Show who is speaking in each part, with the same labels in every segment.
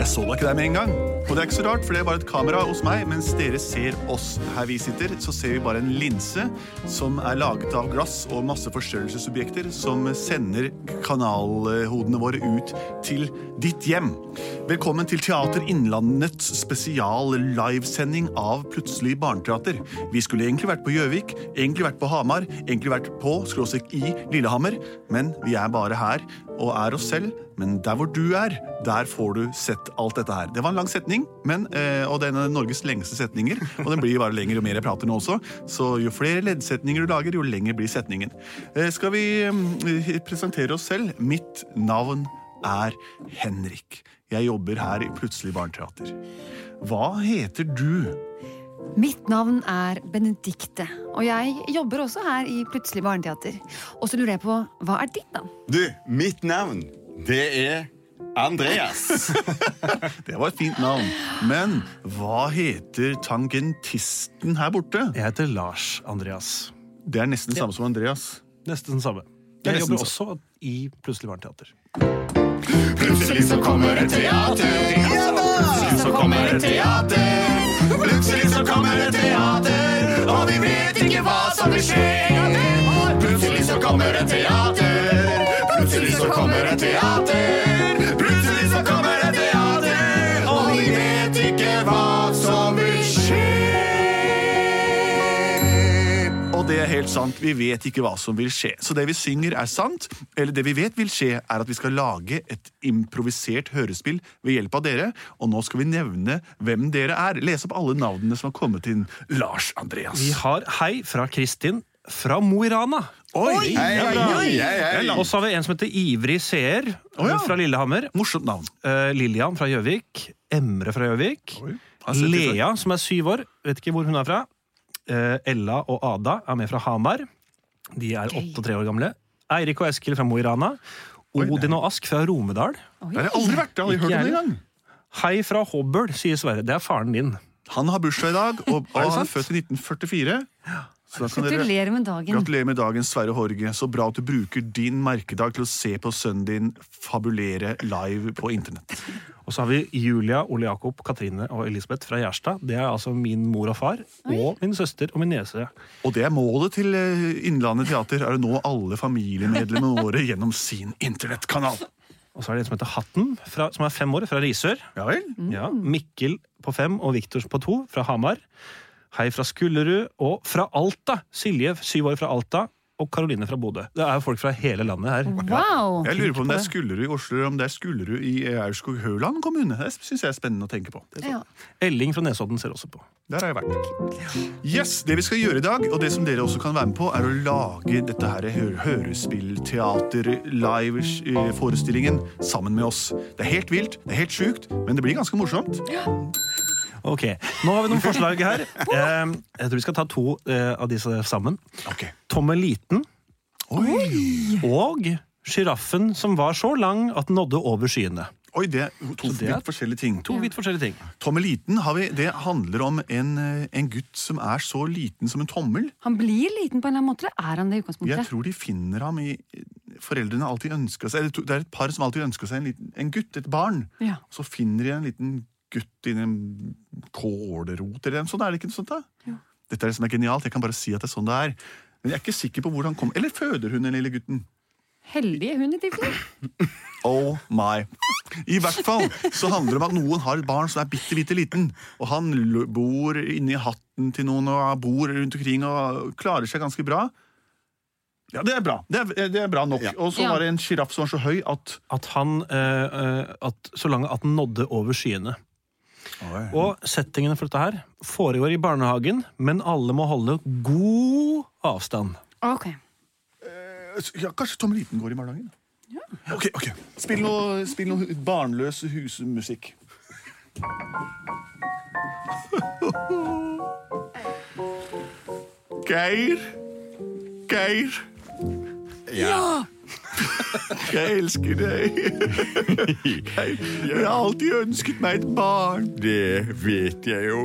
Speaker 1: Jeg så da ikke deg med en gang. Og det er ikke så rart, for det er bare et kamera hos meg, mens dere ser oss her vi sitter. Så ser vi bare en linse som er laget av glass og masse forstørrelsesobjekter som sender kanalhodene våre ut til ditt hjem. Velkommen til Teater Innlandets spesial livesending av Plutselig barneteater. Vi skulle egentlig vært på Gjøvik, egentlig vært på Hamar, egentlig vært på skråstrek i Lillehammer, men vi er bare her og er oss selv. Men der hvor du er, der får du sett alt dette her. Det var en lang setning, men, eh, og det er en av Norges lengste setninger. Og den blir bare lenger jo mer jeg prater nå også. Så jo flere leddsetninger du lager, jo lenger blir setningen. Eh, skal vi eh, presentere oss selv? Mitt navn er Henrik. Jeg jobber her i Plutselig barneteater. Hva heter du?
Speaker 2: Mitt navn er Benedikte, og jeg jobber også her i Plutselig barneteater. Og så lurer jeg på, hva er ditt navn?
Speaker 3: Du, mitt navn, det er Andreas.
Speaker 1: Det var et fint navn. Men hva heter tangentisten her borte?
Speaker 4: Jeg heter Lars Andreas.
Speaker 1: Det er nesten samme som Andreas.
Speaker 4: Nesten den samme.
Speaker 1: er
Speaker 4: Jeg
Speaker 1: nesten
Speaker 4: jobber også i Plutselig barneteater.
Speaker 3: Plutselig så kommer et teater. Ja da! Plutselig så kommer et teater. Plutselig så kommer et teater. Og vi vet ikke hva som vil skje. en gang til. Plutselig så kommer et teater. Plutselig så kommer et teater. Plutselig så kommer et teater. Og vi vet ikke hva som vil skje.
Speaker 1: Og det er helt sant, vi vet ikke hva som vil skje. Så det vi synger er sant, eller det vi vet vil skje, er at vi skal lage et improvisert hørespill ved hjelp av dere, og nå skal vi nevne hvem dere er. Les opp alle navnene som har kommet inn. Lars Andreas.
Speaker 4: Vi har hei fra Kristin fra Mo i Rana.
Speaker 1: Oi!
Speaker 3: Hei,
Speaker 1: det er bra.
Speaker 3: hei, hei, hei.
Speaker 4: Og så har vi en som heter Ivrig seer
Speaker 1: Å, ja.
Speaker 4: fra Lillehammer.
Speaker 1: Morsomt navn.
Speaker 4: Eh, Lillian fra Gjøvik. Emre fra Gjøvik.
Speaker 1: Har sett det før.
Speaker 4: Lea, som er syv år, vet ikke hvor hun er fra. Eh, Ella og Ada er med fra Hamar. De er åtte og tre år gamle. Eirik og Eskil fra Mo i Rana. Odin og Ask fra Romedal.
Speaker 1: Det har jeg aldri vært, jeg har aldri hørt
Speaker 4: Ikke
Speaker 1: om det
Speaker 4: jeg
Speaker 1: engang.
Speaker 4: Hei fra Hobøl, sier Sverre. Det er faren din.
Speaker 1: Han har bursdag i dag, og, og han er
Speaker 4: sant?
Speaker 1: født i 1944. Så da kan dere-
Speaker 2: Gratulerer med dagen.
Speaker 1: Gratulerer med dagen, Sverre Horge. Så bra at du bruker din merkedag til å se på sønnen din fabulere live på internett.
Speaker 4: Og så har vi Julia, Ole Jakob, Katrine og Elisabeth fra Gjerstad. Det er altså min mor og far, og min søster og min niese.
Speaker 1: Og det er målet til eh, Innlandet Teater, er å nå alle familiemedlemmene våre gjennom sin internettkanal.
Speaker 4: Og så er det en som heter Hatten, fra, som er fem år, fra Risør.
Speaker 1: Ja vel?
Speaker 4: Ja, Mikkel på fem og Viktors på to, fra Hamar. Hei fra Skullerud og fra Alta. Silje, syv år fra Alta, og Karoline fra Bodø. Det er jo folk fra hele landet her.
Speaker 2: Wow!
Speaker 1: Jeg lurer på om det er Skullerud i Oslo eller om det er Skullerud i Aurskog-Høland kommune. Det syns jeg er spennende å tenke på.
Speaker 2: Ja.
Speaker 4: Elling fra Nesodden ser også på.
Speaker 1: Der har jeg vært. Yes, Det vi skal gjøre i dag, og det som dere også kan være med på, er å lage dette her hø- hørespill-teater-live-forestillingen sammen med oss. Det er helt vilt, det er helt sjukt, men det blir ganske morsomt.
Speaker 4: Ok, Nå har vi noen forslag her. Eh, Jeg tror vi skal ta to eh, av disse sammen.
Speaker 1: Ok.
Speaker 4: Tommeliten
Speaker 1: Oi,
Speaker 4: og sjiraffen som var så lang at den nådde over skyene.
Speaker 1: Oi det er to
Speaker 4: det er-
Speaker 1: vidt forskjellige ting.
Speaker 4: To vidt forskjellige ting.
Speaker 1: Tommeliten har vi, det handler om en, eh, en gutt som er så liten som en tommel.
Speaker 2: Han blir liten på en eller annen måte, eller er han det i
Speaker 1: Jeg
Speaker 2: utgangspunktet?
Speaker 1: tror de finner ham i Foreldrene har alltid ønska seg eller to- Det er et par som alltid ønsker seg en, liten, en gutt, et barn.
Speaker 2: Ja.
Speaker 1: Så finner de en liten gutt inni en kålrot eller noe sånt. Er det ikke noe sånt da? Dette er det som er genialt. Jeg kan bare si at det er sånn det er. Men jeg er ikke sikker på hvor han kom. Eller føder hun den lille gutten?
Speaker 2: Heldige hun i tilfelle.
Speaker 1: Oh my. I hvert fall så handler det om at noen har et barn som er bitte, bitte liten, og han l- bor inni hatten til noen og bor rundt omkring og klarer seg ganske bra. Ja, det er bra. Det er, det er bra nok.
Speaker 3: Ja.
Speaker 1: Og så
Speaker 2: Ja.
Speaker 1: var det en sjiraff som var så høy at
Speaker 4: At han, eh, eh, at, så langt at den nådde over skyene. Og settingene for dette her foregår i barnehagen, men alle må holde god avstand.
Speaker 2: Ok.
Speaker 1: ja, Kanskje Tom Liten går i barnehagen? Ja. Ok, ok. Spill noe, spill noe barnløs husmusikk. Geir. Geir.
Speaker 3: Ja.
Speaker 1: Jeg elsker deg. Jeg, jeg har alltid ønsket meg et barn.
Speaker 3: Det vet jeg jo.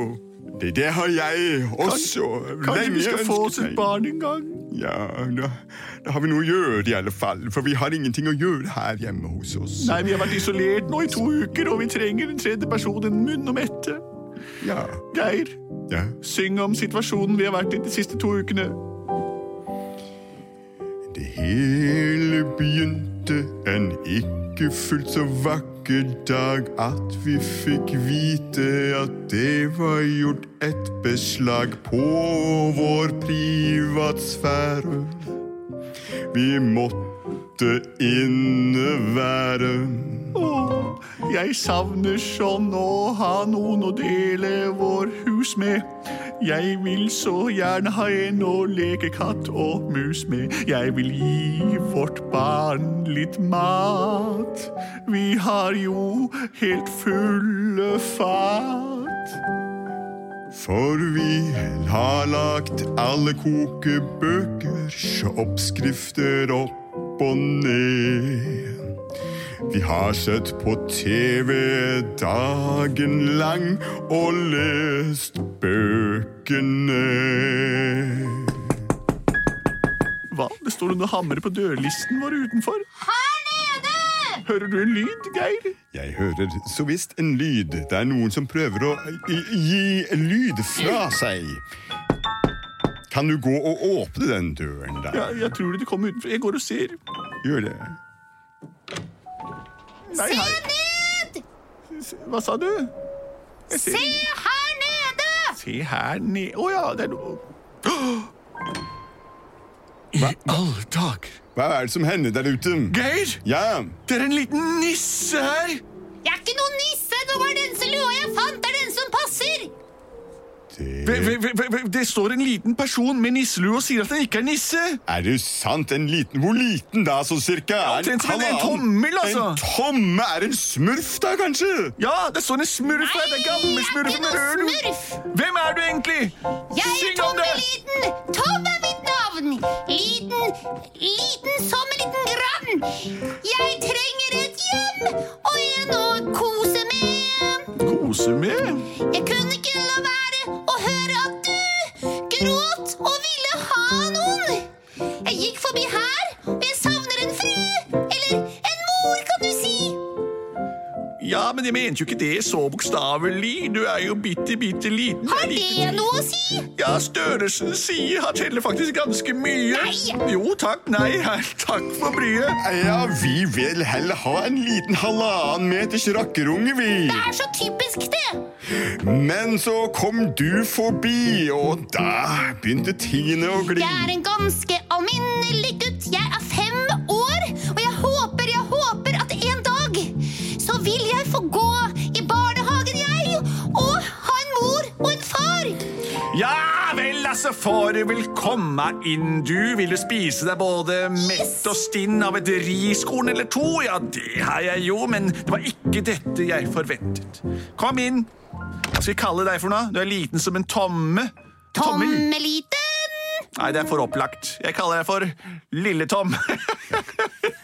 Speaker 3: Det, det har jeg også
Speaker 1: Kanskje vi
Speaker 3: lenge
Speaker 1: skal få oss
Speaker 3: ønsket
Speaker 1: et
Speaker 3: meg.
Speaker 1: barn en gang?
Speaker 3: Ja, da, da har vi noe å gjøre i alle fall, for vi har ingenting å gjøre her hjemme hos oss.
Speaker 1: Nei, vi har vært isolert nå i to uker, og vi trenger en tredje person, en munn å mette.
Speaker 3: Ja,
Speaker 1: Geir,
Speaker 3: ja.
Speaker 1: syng om situasjonen vi har vært i de siste to ukene.
Speaker 3: Det hele begynte en ikke fullt så vakker dag at vi fikk vite at det var gjort et beslag på vår privatsfære. Vi måtte innevære.
Speaker 1: Åh, jeg savner sånn å ha noen å dele vår hus med. Jeg vil så gjerne ha en å leke katt og mus med. Jeg vil gi vårt barn litt mat. Vi har jo helt fulle fat.
Speaker 3: For vi har lagt alle kokebøkers oppskrifter opp og ned. Vi har sett på TV dagen lang og lest bøkene.
Speaker 1: Hva? Det står noen og hamrer på dørlisten vår utenfor. Her nede! Hører du en lyd, Geir?
Speaker 3: Jeg hører så visst en lyd. Det er noen som prøver å i- gi lyd fra seg. Kan du gå og åpne den døren der?
Speaker 1: Ja, jeg tror det kommer utenfor. Jeg går og ser.
Speaker 3: Gjør det.
Speaker 1: Nei, Se ned! Hva sa du? Jeg ser ingen.
Speaker 5: her nede!
Speaker 1: Se her ned Å ja, det er noe I alle dager!
Speaker 3: Hva er det som hender der ute?
Speaker 1: Geir!
Speaker 3: Ja,
Speaker 1: Det er en liten nisse her!
Speaker 5: Jeg er ikke noen nisse! Det var den som lua jeg fant, det er den som passer!
Speaker 1: Ve-
Speaker 3: det
Speaker 1: ve- ve- ve- ve- Det står en liten person med nisselue og sier at han ikke er nisse!
Speaker 3: er jo sant. En liten, hvor liten da, så cirka? Er
Speaker 1: omtrent som en- en
Speaker 3: halvannen-
Speaker 1: tommel, altså.
Speaker 3: En tomme er en smurf, da, kanskje?
Speaker 1: Ja, det står en smurf her! Det er gamle smurf med rød
Speaker 5: noen
Speaker 1: lue!
Speaker 5: smurf!
Speaker 1: Hvem er du egentlig?
Speaker 5: Jeg er
Speaker 1: Syng om det!
Speaker 5: Tommeliten! Tom er mitt navn! Liten, liten som en liten grann! Jeg trenger et hjem og en å kose med!
Speaker 1: Kose med?
Speaker 5: Jeg kunne ikke la være å høre at du gråt og ville ha noen! Jeg gikk forbi her, og jeg savner en fru! Eller en mor, kan du si!
Speaker 1: Ja, men jeg mente jo ikke det så bokstavelig. Du er jo bitte, bitte liten.
Speaker 5: Har det noe å si?
Speaker 1: Ja, størrelsen sier han teller faktisk ganske mye.
Speaker 5: Nei!
Speaker 1: Jo takk, nei, her, takk for bryet.
Speaker 3: Ja, vi vil heller ha en liten halvannen meters rakkerunge, vi.
Speaker 5: Det er så typisk, det!
Speaker 3: Men så kom du forbi, og da begynte tingene å gli.
Speaker 5: Jeg er en ganske alminnelig gutt. Jeg er fem år, og jeg håper, jeg håper at en dag så vil jeg få gå i barnehagen, jeg, og ha en mor og en far.
Speaker 1: Ja vel, altså, får du vel komme inn, du. Vil du spise deg både mett og stinn av et riskorn eller to? Ja, det har jeg jo, men det var ikke dette jeg forventet. Kom inn. Hva skal jeg kalle deg for noe? Du er liten som en tomme. Tommel?
Speaker 5: Tommeliten!
Speaker 1: Nei, det er for opplagt. Jeg kaller deg for Lille-Tom.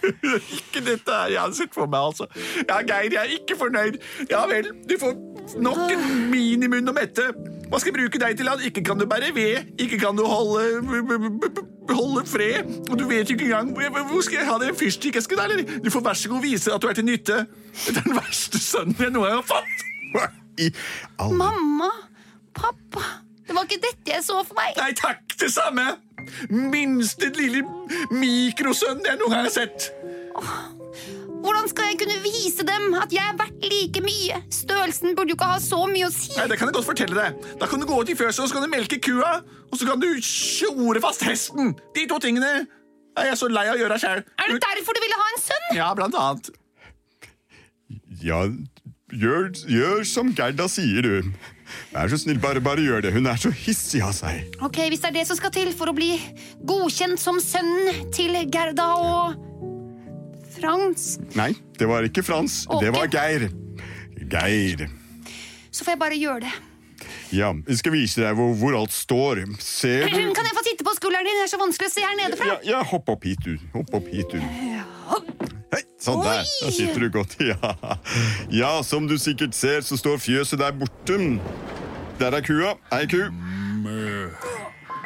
Speaker 1: ikke dette her jeg har sett for meg, altså. Ja, Geir, jeg er ikke fornøyd. Ja vel, du får nok en minimum å mette. Hva skal jeg bruke deg til? da? Ikke kan du bære ved, ikke kan du holde, b- b- b- b- holde fred, og du vet jo ikke engang hvor- Hvor skal jeg ha det? En fyrstikkeske, da? eller? Du får vær så god vise at du er til nytte. Det er den verste sønnen jeg noen gang har fått.
Speaker 3: Hva i all
Speaker 5: Mamma, pappa, det var ikke dette jeg så for meg.
Speaker 1: Nei takk, det samme. Minste lille mikrosønn jeg noen gang har sett.
Speaker 5: Hvordan skal jeg kunne vise dem at jeg er verdt like mye? Størrelsen burde jo ikke ha så mye å si.
Speaker 1: Nei, Det kan jeg godt fortelle deg. Da kan du gå ut i fjøset og så kan du melke kua. Og så kan du tjore fast hesten. De to tingene er jeg så lei av å gjøre sjæl.
Speaker 5: Er det derfor du ville ha en sønn?
Speaker 1: Ja, blant annet.
Speaker 3: Ja, gjør, gjør som Gerda sier, du. Vær så snill, bare, bare gjør det. Hun er så hissig av seg.
Speaker 5: Ok, Hvis det er det som skal til for å bli godkjent som sønnen til Gerda og Frans,
Speaker 3: Nei, det var ikke Frans.
Speaker 5: Åke.
Speaker 3: Det var Geir. Geir.
Speaker 5: så får jeg bare gjøre det.
Speaker 3: Ja, vi skal vise deg hvor, hvor alt står. Ser du
Speaker 5: Kan jeg få titte på skulderen din? Det er så vanskelig å se her nede fra.
Speaker 3: Ja, ja hopp opp hit, du. Hopp opp hit, du. Hei, sånn der. Da sitter du godt. Ja. ja, som du sikkert ser, så står fjøset der borte. Der er kua. Ei ku.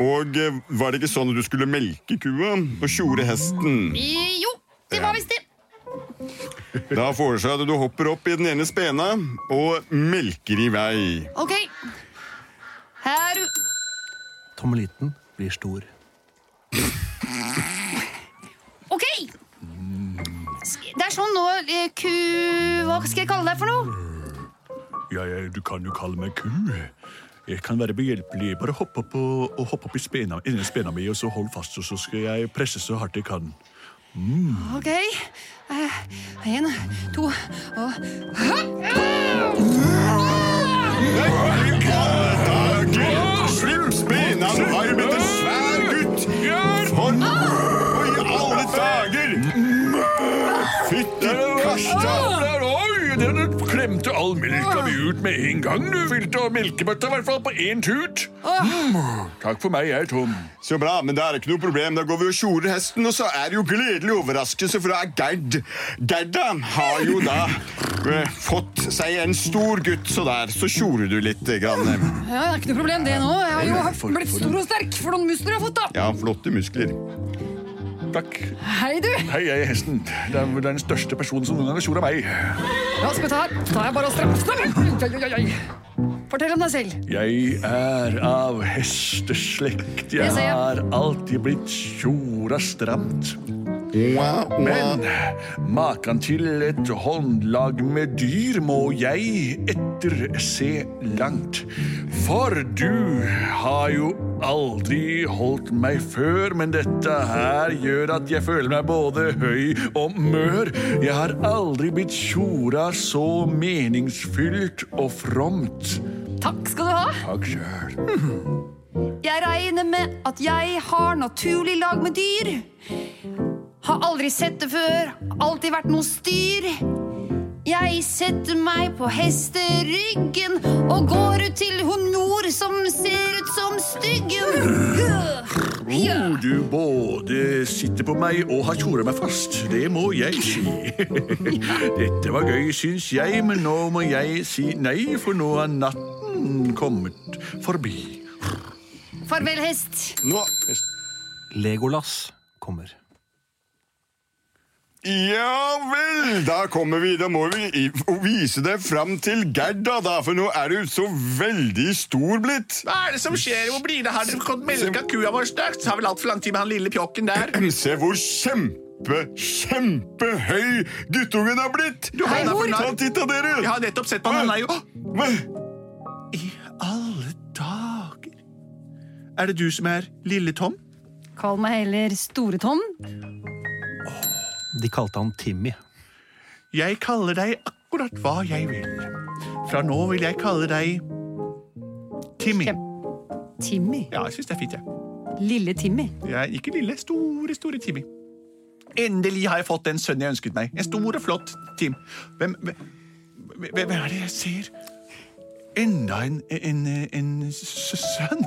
Speaker 3: Og eh, var det ikke sånn at du skulle melke kua og tjore hesten?
Speaker 5: Eh, Jo, det var visst det.
Speaker 3: Da foreslår jeg at du hopper opp i den ene spena og melker i vei.
Speaker 5: Ok. Her
Speaker 4: Tommeliten blir stor.
Speaker 5: Ok. Sk- Det er sånn nå eh, Ku... Hva skal jeg kalle deg for noe?
Speaker 1: Ja, ja, du kan jo kalle meg ku. Jeg kan være behjelpelig. Bare hopp opp, og, og hopp opp i spena, inni spena mi, og så hold fast, og så skal jeg presse så hardt jeg kan.
Speaker 2: Ok. Én, to og
Speaker 3: Slipp spena, han har blitt en svær gutt! For Oi, i alle dager! Fytti kasta!
Speaker 6: Oi, den klemte all melka mi ut med en gang. Du fylte og melkebøtta i hvert fall på én tut. Mm, takk for meg, jeg er tom.
Speaker 3: Så bra, men da er det ikke noe problem. Da går vi og tjorer hesten, og så er det jo gledelig overraskelse fra Gerd. Gerda har jo da eh, fått seg en stor gutt, så der så tjorer du litt. Grann.
Speaker 2: Ja, det er ikke noe problem, det nå. Jeg har jo hatt- blitt stor og sterk for noen muskler jeg har fått, da.
Speaker 3: Ja, flotte muskler.
Speaker 6: Takk.
Speaker 2: Hei, du.
Speaker 6: Hei, jeg er hesten. Det er vel den største personen som noen gang har tjora meg.
Speaker 2: Ja, skal vi ta her. Da er jeg bare å stramme. Stramme! Oi, oi, oi, oi. Fortell om deg selv.
Speaker 6: Jeg er av hesteslekt. Jeg
Speaker 2: Det ser jeg.
Speaker 6: har alltid blitt tjora stramt.
Speaker 3: Wow, wow.
Speaker 6: Men maken til et håndlag med dyr må jeg etterse langt. For du har jo aldri holdt meg før, men dette her gjør at jeg føler meg både høy og mør. Jeg har aldri blitt tjora så meningsfylt og fromt.
Speaker 2: Takk skal du ha.
Speaker 6: Takk sjøl.
Speaker 2: Jeg regner med at jeg har naturlig lag med dyr. Har aldri sett det før. Alltid vært noe styr. Jeg setter meg på hesteryggen og går ut til hun mor som ser ut som styggen.
Speaker 6: Jo, du både sitter på meg og har tjora meg fast. Det må jeg si. Dette var gøy, syns jeg, men nå må jeg si nei, for nå er natten kommet forbi.
Speaker 2: Farvel, hest.
Speaker 3: Nå
Speaker 4: Legolas kommer.
Speaker 3: Ja vel, da kommer vi. Da må vi i- og vise det fram til Gerda, da, for nå er du så veldig stor blitt.
Speaker 1: Hva er det som skjer? Hvor blir det av dere som fått melka kua vår straks? Har vel altfor lang tid med han lille pjokken der.
Speaker 3: Se hvor kjempe, kjempehøy guttungen er blitt!
Speaker 1: Hei,
Speaker 2: mor.
Speaker 3: Ta en titt av dere!
Speaker 1: Jeg har nettopp sett på han. Han er jo Å,
Speaker 3: Hva?
Speaker 1: I alle dager! Er det du som er Lille Tom?
Speaker 2: Kall meg heller Store-Tom.
Speaker 4: De kalte han Timmy.
Speaker 1: Jeg kaller deg akkurat hva jeg vil. Fra nå vil jeg kalle deg Timmy.
Speaker 2: Kjem- Timmy.
Speaker 1: Ja, jeg syns det er fint, jeg.
Speaker 2: Lille Timmy.
Speaker 1: Jeg er ikke lille, store, store Timmy. Endelig har jeg fått den sønnen jeg ønsket meg. En stor og flott Tim. Hvem, hvem, hvem er det jeg ser? Enda en, en, en s- sønn?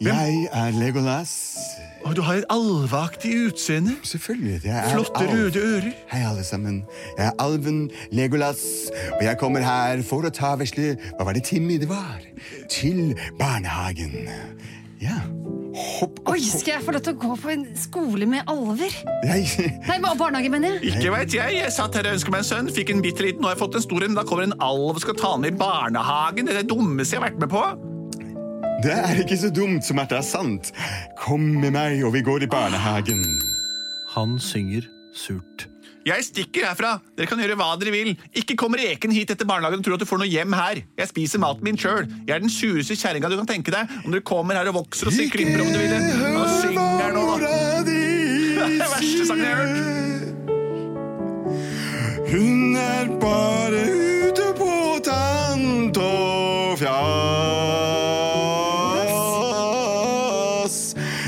Speaker 7: Jeg er Legolas.
Speaker 1: Og du har et alveaktig utseende.
Speaker 7: Selvfølgelig. Jeg er
Speaker 1: Flotte
Speaker 7: alv.
Speaker 1: røde ører.
Speaker 7: Hei, alle sammen. Jeg er alven Legolas, og jeg kommer her for å ta vesle Hva var det Timmy det var? Til barnehagen. Ja. Hopp
Speaker 2: Oi, skal jeg få lov til å gå på en skole med alver?
Speaker 7: Jeg,
Speaker 2: Nei, ba- barnehage, mener jeg.
Speaker 1: Ikke veit jeg. Jeg satt her og ønsket meg en sønn, fikk en bitte liten, nå har jeg fått en stor en. Da kommer en alv og skal ta den med i barnehagen. Det er det dummeste jeg har vært med på.
Speaker 7: det er ikke så dumt som at det er sant. Kom med meg, og vi går i barnehagen.
Speaker 4: Han synger surt.
Speaker 1: Jeg stikker herfra. Dere kan gjøre hva dere vil. Ikke kom reken hit etter barnehagen og tror at du får noe hjem her. Jeg spiser maten min sjøl. Jeg er den sureste kjerringa du kan tenke deg. Om dere kommer her og vokser og sy- klipper om du vil. Og synger nå, da.
Speaker 7: Det
Speaker 1: er verste sangen jeg har
Speaker 7: Hun er bare ute på tant og fjas.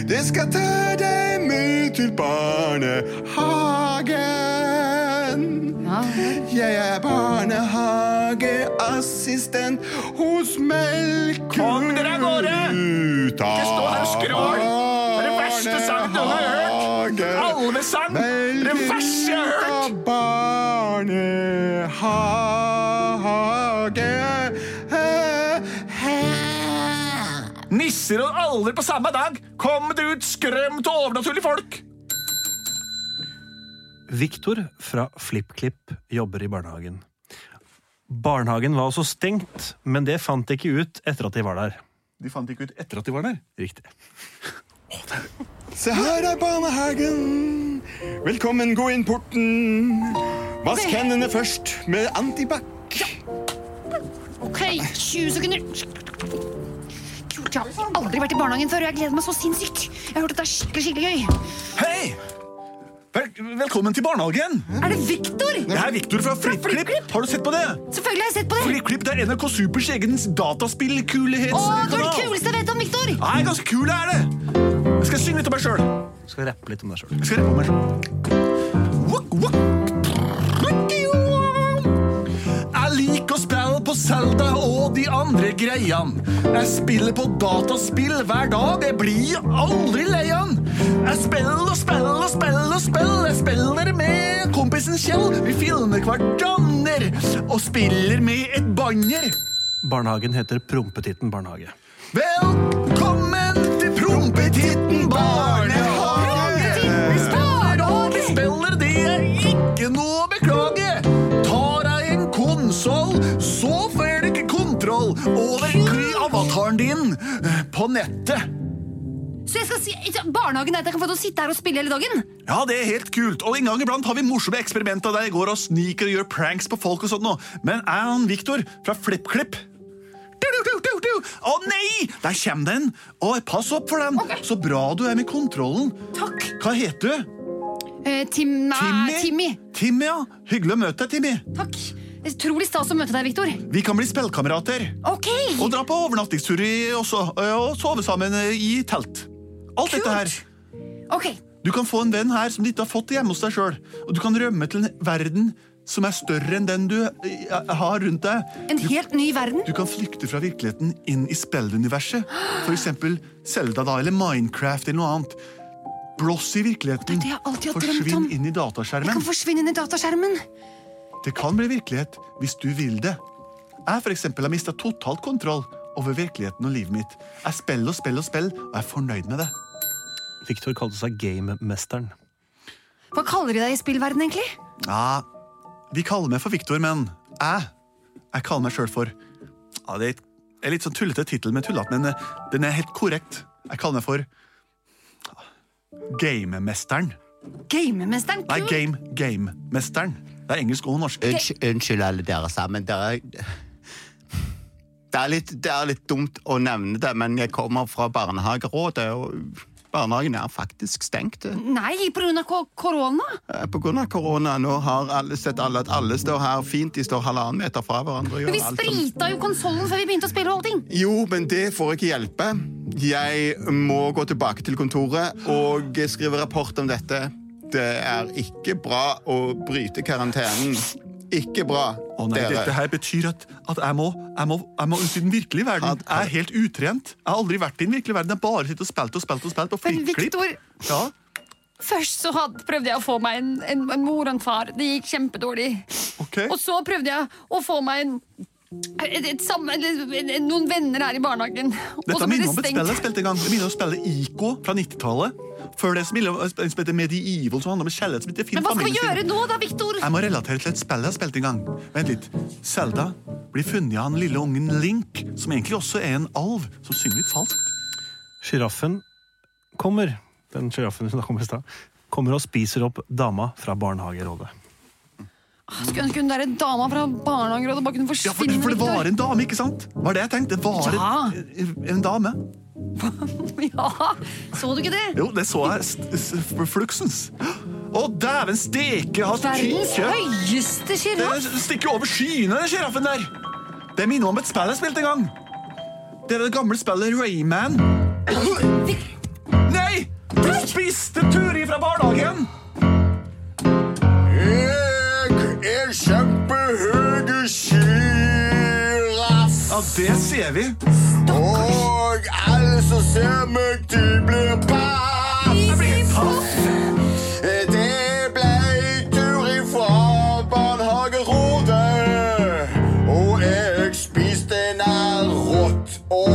Speaker 7: Det skal ta deg med til barnehagen.
Speaker 2: Ja, alver.
Speaker 7: Jeg er barnehageassistent hos Melkut.
Speaker 1: Kom dere av gårde!
Speaker 7: Ikke
Speaker 1: stå her og skrål! Det er det verste sangen du har hørt. Alvesang! Det verste jeg har hørt.
Speaker 7: Barnehage
Speaker 1: Nisser og alver på samme dag.
Speaker 6: skremt av overnaturlige folk!
Speaker 4: Viktor fra FlippKlipp jobber i barnehagen. Barnehagen var også stengt, men det fant de ikke ut etter at de var der.
Speaker 1: De fant ikke ut etter at de var der.
Speaker 4: Riktig.
Speaker 7: Se her er barnehagen. Velkommen, gå inn porten. Vask hendene først med antibac.
Speaker 2: Ok, 20 sekunder. Gjort, Jeg har aldri vært i barnehagen før, og jeg gleder meg så sinnssykt. Jeg har hørt at det er skikkelig, skikkelig gøy.
Speaker 1: Hei! Vel velkommen til barnehagen!
Speaker 2: Er det Viktor?
Speaker 1: Det er Viktor fra FlippKlipp. Har du sett på det?
Speaker 2: Selvfølgelig har jeg sett på det.
Speaker 1: FlippKlipp det er NRK Supers egen
Speaker 2: Å, du er det
Speaker 1: dataspillkulighetskanal.
Speaker 2: kuleste jeg vet om, Viktor.
Speaker 1: Nei, ganske kul er det! Jeg skal synge litt om meg sjøl.
Speaker 4: Skal rappe litt om deg sjøl.
Speaker 1: Jeg skal rappe om meg selv. Wok, wok. Jeg liker å spille på Zelda og de andre greiene. Jeg spiller på dataspill hver dag, det blir aldri leian. Jeg spiller og spiller og spiller og spiller. Jeg spiller med kompisen Kjell. Vi filmer hverandre og spiller med et banner.
Speaker 4: Barnehagen heter Prompetitten barnehage.
Speaker 1: Velkommen til Prompetitten barnehage. Barnehage spiller det er ikke noe å beklage. Tar deg en konsoll, så får du ikke kontroll over kli- avataren din eh, på nettet.
Speaker 2: Så jeg skal si, barnehagen er at jeg kan få til å sitte her og spille hele dagen.
Speaker 1: Ja, det er helt kult, og en gang iblant har vi morsomme eksperimenter der jeg går og sniker og gjør pranks på folk og sånt nå. Men jeg og han Victor fra FlippKlipp Du, du, du, du, du. Å nei! Der kommer den! Å, pass opp for den! Så bra du er med kontrollen.
Speaker 2: Takk.
Speaker 1: Hva heter du?
Speaker 2: Eh, Tim, nei,
Speaker 1: Timmy?
Speaker 2: Timmy.
Speaker 1: Timmy, ja. Hyggelig å møte deg, Timmy.
Speaker 2: Takk. Utrolig stas å møte deg, Viktor.
Speaker 1: Vi kan bli spillkamerater.
Speaker 2: Ok.
Speaker 1: Og dra på overnattingstur i- også, eh, og sove sammen eh, i telt. Alt dette her.
Speaker 2: Ok.
Speaker 1: Du kan få en venn her som du ikke har fått hjemme hos deg sjøl. Og du kan rømme til en verden som er større enn den du eh, har rundt deg.
Speaker 2: En helt ny verden.
Speaker 1: Du kan flykte fra virkeligheten inn i spilluniverset. For eksempel Zelda da, eller Minecraft eller noe annet. Blås i virkeligheten.
Speaker 2: Det er det jeg alltid har drømt om.
Speaker 1: Forsvinn inn i
Speaker 2: Jeg
Speaker 1: dataskjermen.
Speaker 2: kan forsvinne inn i dataskjermen.
Speaker 1: Det kan bli virkelighet hvis du vil det. Jeg for eksempel, har mista totalt kontroll over virkeligheten og livet mitt. Jeg spiller og spiller og spiller, og jeg er fornøyd med det.
Speaker 4: Viktor kalte seg Gamemesteren.
Speaker 2: Hva kaller de deg i spillverden, egentlig?
Speaker 1: Ja, vi kaller meg for Viktor, men jeg, jeg kaller meg sjøl for ja, Det er et- en litt sånn tullete tittel med tullete, men eh, den er helt korrekt. Jeg kaller meg for Gamemesteren.
Speaker 2: Gamemesteren?
Speaker 1: Nei,
Speaker 2: Kult.
Speaker 1: game, gamemesteren. Det er engelsk og norsk.
Speaker 8: Unnskyld, unnskyld alle dere sammen. Dere det er, litt, det er litt dumt å nevne det, men jeg kommer fra Barnehagerådet, og barnehagen er faktisk stengt. eh,
Speaker 2: Nei, på grunn av ko- korona?
Speaker 8: På grunn av korona. Nå har alle sett alle at alle står her fint. De står halvannen meter fra hverandre. og gjør
Speaker 2: Men vi
Speaker 8: alt som-
Speaker 2: sprita jo konsollen før vi begynte å spille og allting.
Speaker 8: Jo, men det får ikke hjelpe. Jeg må gå tilbake til kontoret og skrive rapport om dette. Det er ikke bra å bryte karantenen. Ikke bra,
Speaker 1: Å nei, Dette
Speaker 8: dere.
Speaker 1: her betyr at, at jeg, må, jeg, må, jeg må ut i den virkelige verden.
Speaker 8: At-
Speaker 1: Jeg er helt utrent. Jeg har aldri vært i den virkelige verden. Jeg har bare sittet og spilt og spilt og spilt på
Speaker 2: Men
Speaker 1: flikklipp.
Speaker 2: Victor,
Speaker 1: Ja.
Speaker 2: først så had, prøvde jeg å få meg en, en, en mor og en far. Det gikk kjempedårlig.
Speaker 1: ok.
Speaker 2: Og så prøvde jeg å få meg en, et, et, samme- eller en, en, noen venner her i barnehagen. Og
Speaker 1: Dette
Speaker 2: så ble
Speaker 1: minner
Speaker 2: det
Speaker 1: om et spill jeg
Speaker 2: stengt.
Speaker 1: spilte en gang. Det minner om å spille Ico fra 90-tallet. Før det så minner det om et spill som heter Medieval, som handler om en kjærlighet som ikke
Speaker 2: Men
Speaker 1: finner
Speaker 2: hva skal vi
Speaker 1: familien sin.
Speaker 2: gjøre nå da, Viktor?
Speaker 1: Jeg må relatere til et spill jeg spilte en gang. Vent litt. Selda blir funnet av den lille ungen Link, som egentlig også er en alv, som synger litt falskt.
Speaker 4: Sjiraffen kommer, den sjiraffen som kom i stad, kommer og spiser opp dama fra barnehagerådet.
Speaker 2: Skulle ønske hun der dama fra barnehagerådet bare kunne
Speaker 1: Ja, for,
Speaker 2: forsvinne.
Speaker 1: for det
Speaker 2: Victor.
Speaker 1: var en dame, ikke sant? Var det jeg tenkte? Det var en, en dame.
Speaker 2: Ja, så du ikke det?
Speaker 1: Jo, det så jeg. st- s- Fluxens. Å, dæven steke! Har
Speaker 2: Verdens
Speaker 1: tyke!
Speaker 2: høyeste sjiraff.
Speaker 1: Det stikker jo over skyene, den sjiraffen der. Det minner meg om et spill jeg spilte en gang. Det er det gamle spillet Rayman. Nei! Du spiste Turi fra barnehagen!
Speaker 7: Jeg er kjempehøye sjiraff.
Speaker 1: Ja, det ser vi.
Speaker 7: Og alle som ser meg, de blir paff. Det ble tur ifra barnehagerådet. Og jeg spiste nær rått og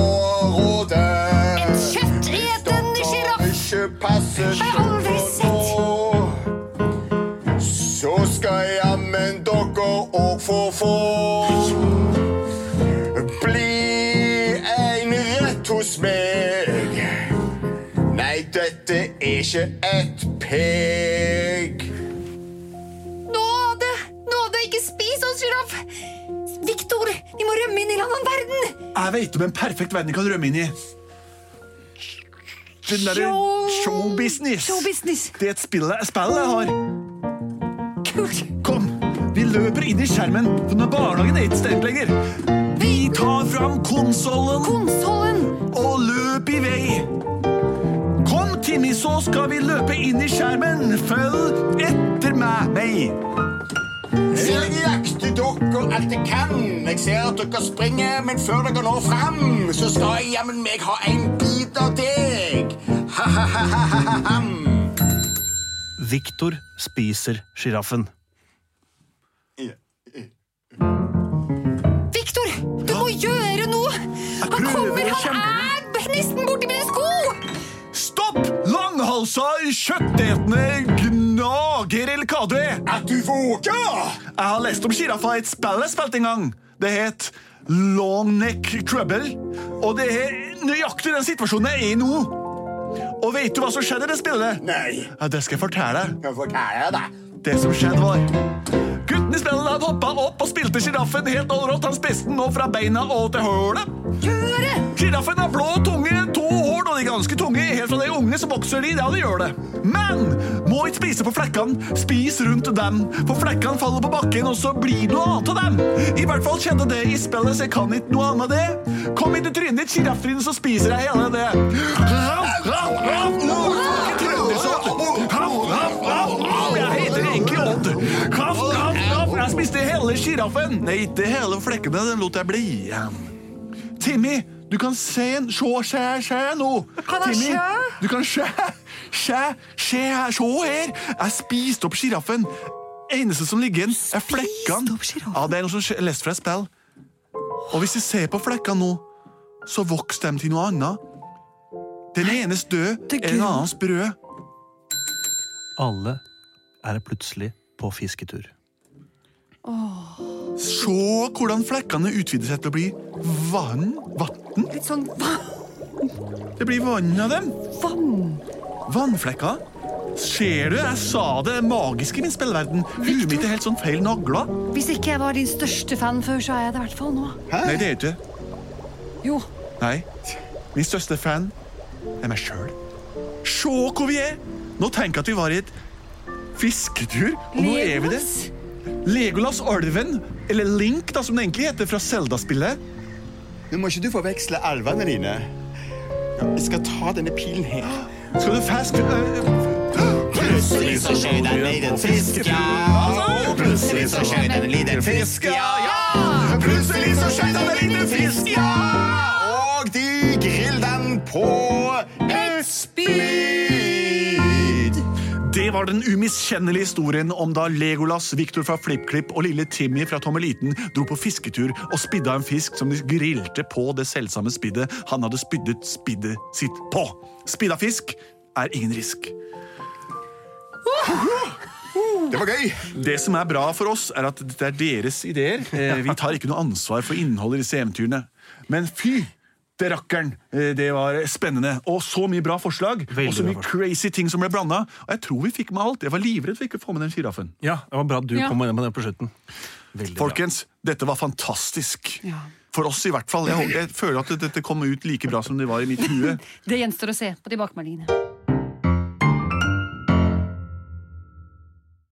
Speaker 7: råte.
Speaker 5: En kjøttetende sjiraff.
Speaker 7: Stokker Ikke så skal jammen dere òg få få bli en rett hos meg. Nei, dette er ikke et pek.
Speaker 2: Nåde! Nåde, ikke spis oss, sjiraff! Viktor, vi må rømme inn i en annen verden!
Speaker 1: Jeg vet om en perfekt verden jeg kan rømme inn i. Den derre
Speaker 2: Show-
Speaker 1: showbusiness.
Speaker 2: Showbusiness.
Speaker 1: Det er et spill, spill jeg har.
Speaker 2: Kult!
Speaker 1: Kom, vi løper inn i skjermen, for når barnehagen er ikke stengt lenger. Vi tar fram konsollen
Speaker 2: Konsollen!
Speaker 1: og løp i vei. Kom, Timmy, så skal vi løpe inn i skjermen. Følg etter meg. meg.
Speaker 7: Jeg jakter dere alt jeg kan. Jeg ser at dere springer, men før dere når fram, så skal jeg jammen meg ha en bit av deg. Ha-ha-ha-ha-ham.
Speaker 4: Viktor spiser sjiraffen.
Speaker 2: Viktor, du må gjøre noe! Han
Speaker 1: prøver
Speaker 2: kommer,
Speaker 1: å
Speaker 2: han er nesten borti mine sko!
Speaker 1: Stopp! Langhalsa, kjøttetende gnager, eller hva du er.
Speaker 7: At du våger!
Speaker 1: Jeg har lest om sjiraffer i et spill jeg spilte en gang. Det het Long Neck Trouble. Og det er nøyaktig den situasjonen jeg er i nå. Og vet du hva som skjedde i det spillet?
Speaker 7: Nei,
Speaker 1: Ja, det skal jeg fortelle deg.
Speaker 7: hva er jeg da?
Speaker 1: Det som skjedde, var Gutten i spillet hadde hoppa opp og spilte sjiraffen helt overalt. Han spiste den nå fra beina og til hølet.
Speaker 2: Gjør det!
Speaker 1: Sjiraffen har blå tunge, to horn, og de er ganske tunge helt fra de er unge, så vokser de. Ja, de gjør det. Men må ikke spise på flekkene. Spis rundt dem, for flekkene faller på bakken, og så blir det noe annet av dem. I hvert fall skjedde det i spillet, så jeg kan ikke noe annet av det. Kom inn i trynet ditt, sjirafftrynet, så spiser jeg hele det. Raff, raff, raff, motherfucking trøndersodd. Raff, raff, raff, raff. Jeg heter egentlig Odd. Raff, raff, raff. Jeg spiste hele sjiraffen. Nei, ikke hele flekkene. Den lot jeg bli igjen. Timmy, du kan se en Sjå, sjæ, sjæ nå.
Speaker 2: Kan jeg
Speaker 1: Timmy,
Speaker 2: sjå?
Speaker 1: Du kan sjæ, sjæ, sjæ her. Sjå her. Jeg spiste opp sjiraffen. Eneste som ligger igjen, er flekkene.
Speaker 2: opp giraffen?
Speaker 1: Ja, det er noe som skje- jeg leste fra et spill. Og hvis vi ser på flekkene nå, så vokser de til noe annet. Den enes død
Speaker 2: Det er
Speaker 1: er en
Speaker 2: gul.
Speaker 1: annens brød.
Speaker 4: Alle er plutselig på fisketur.
Speaker 1: Se hvordan flekkene utvider seg til å bli vann. Vann.
Speaker 2: Litt sånn va-
Speaker 1: Det blir vann av dem.
Speaker 2: vann.
Speaker 1: Vannflekker? Ser du, jeg sa det er magisk i min spillverden. Huet mitt er helt sånn feil nagla.
Speaker 2: Hvis ikke jeg var din største fan før, så er jeg det i hvert fall nå.
Speaker 1: Nei, det er du ikke.
Speaker 2: Jo,
Speaker 1: Nei. Min største fan er meg sjøl. Se hvor vi er! Nå tenker jeg at vi var i et fisketur, og nå er vi det.
Speaker 2: Legolas.
Speaker 1: Legolas Alven, eller Link, da, som det egentlig heter, fra Selda-spillet.
Speaker 7: Nå må ikke du forveksle alvene dine. Jeg skal ta denne pilen her.
Speaker 1: Skal du fast øh,
Speaker 7: Plutselig så skjer det en liten fisk, ja. Og plutselig så skjer det en liten fisk, ja. ja. Plutselig så skjer det en liten fisk, ja. Og de grill den på et spyd.
Speaker 1: Det var den umiskjennelige historien om da Legolas, Victor fra FlippKlipp og lille Timmy fra Tommeliten dro på fisketur og spidda en fisk som de grilte på det selvsamme spiddet han hadde spyddet spiddet sitt på. Spidda fisk er ingen risk.
Speaker 7: Det var gøy.
Speaker 1: Det som er bra for oss, er at dette er deres ideer. Eh, Vi tar ikke noe ansvar for innholdet i disse eventyrene. Men fy! Det rakkeren. Eh, Det var spennende. Og så mye bra forslag. og så
Speaker 4: bra
Speaker 1: mye crazy ting som ble blanda. Og jeg tror vi fikk med alt. Jeg var livredd for ikke å få med den sjiraffen.
Speaker 4: Ja, det var bra at du
Speaker 2: Ja.
Speaker 4: kom med det på slutten.
Speaker 1: Folkens, dette var fantastisk.
Speaker 2: Ja.
Speaker 1: For oss i hvert fall. Jeg, håper- jeg føler at dette kom ut like bra som det var i mitt hue.
Speaker 2: det gjenstår å se på de bakmeldingene.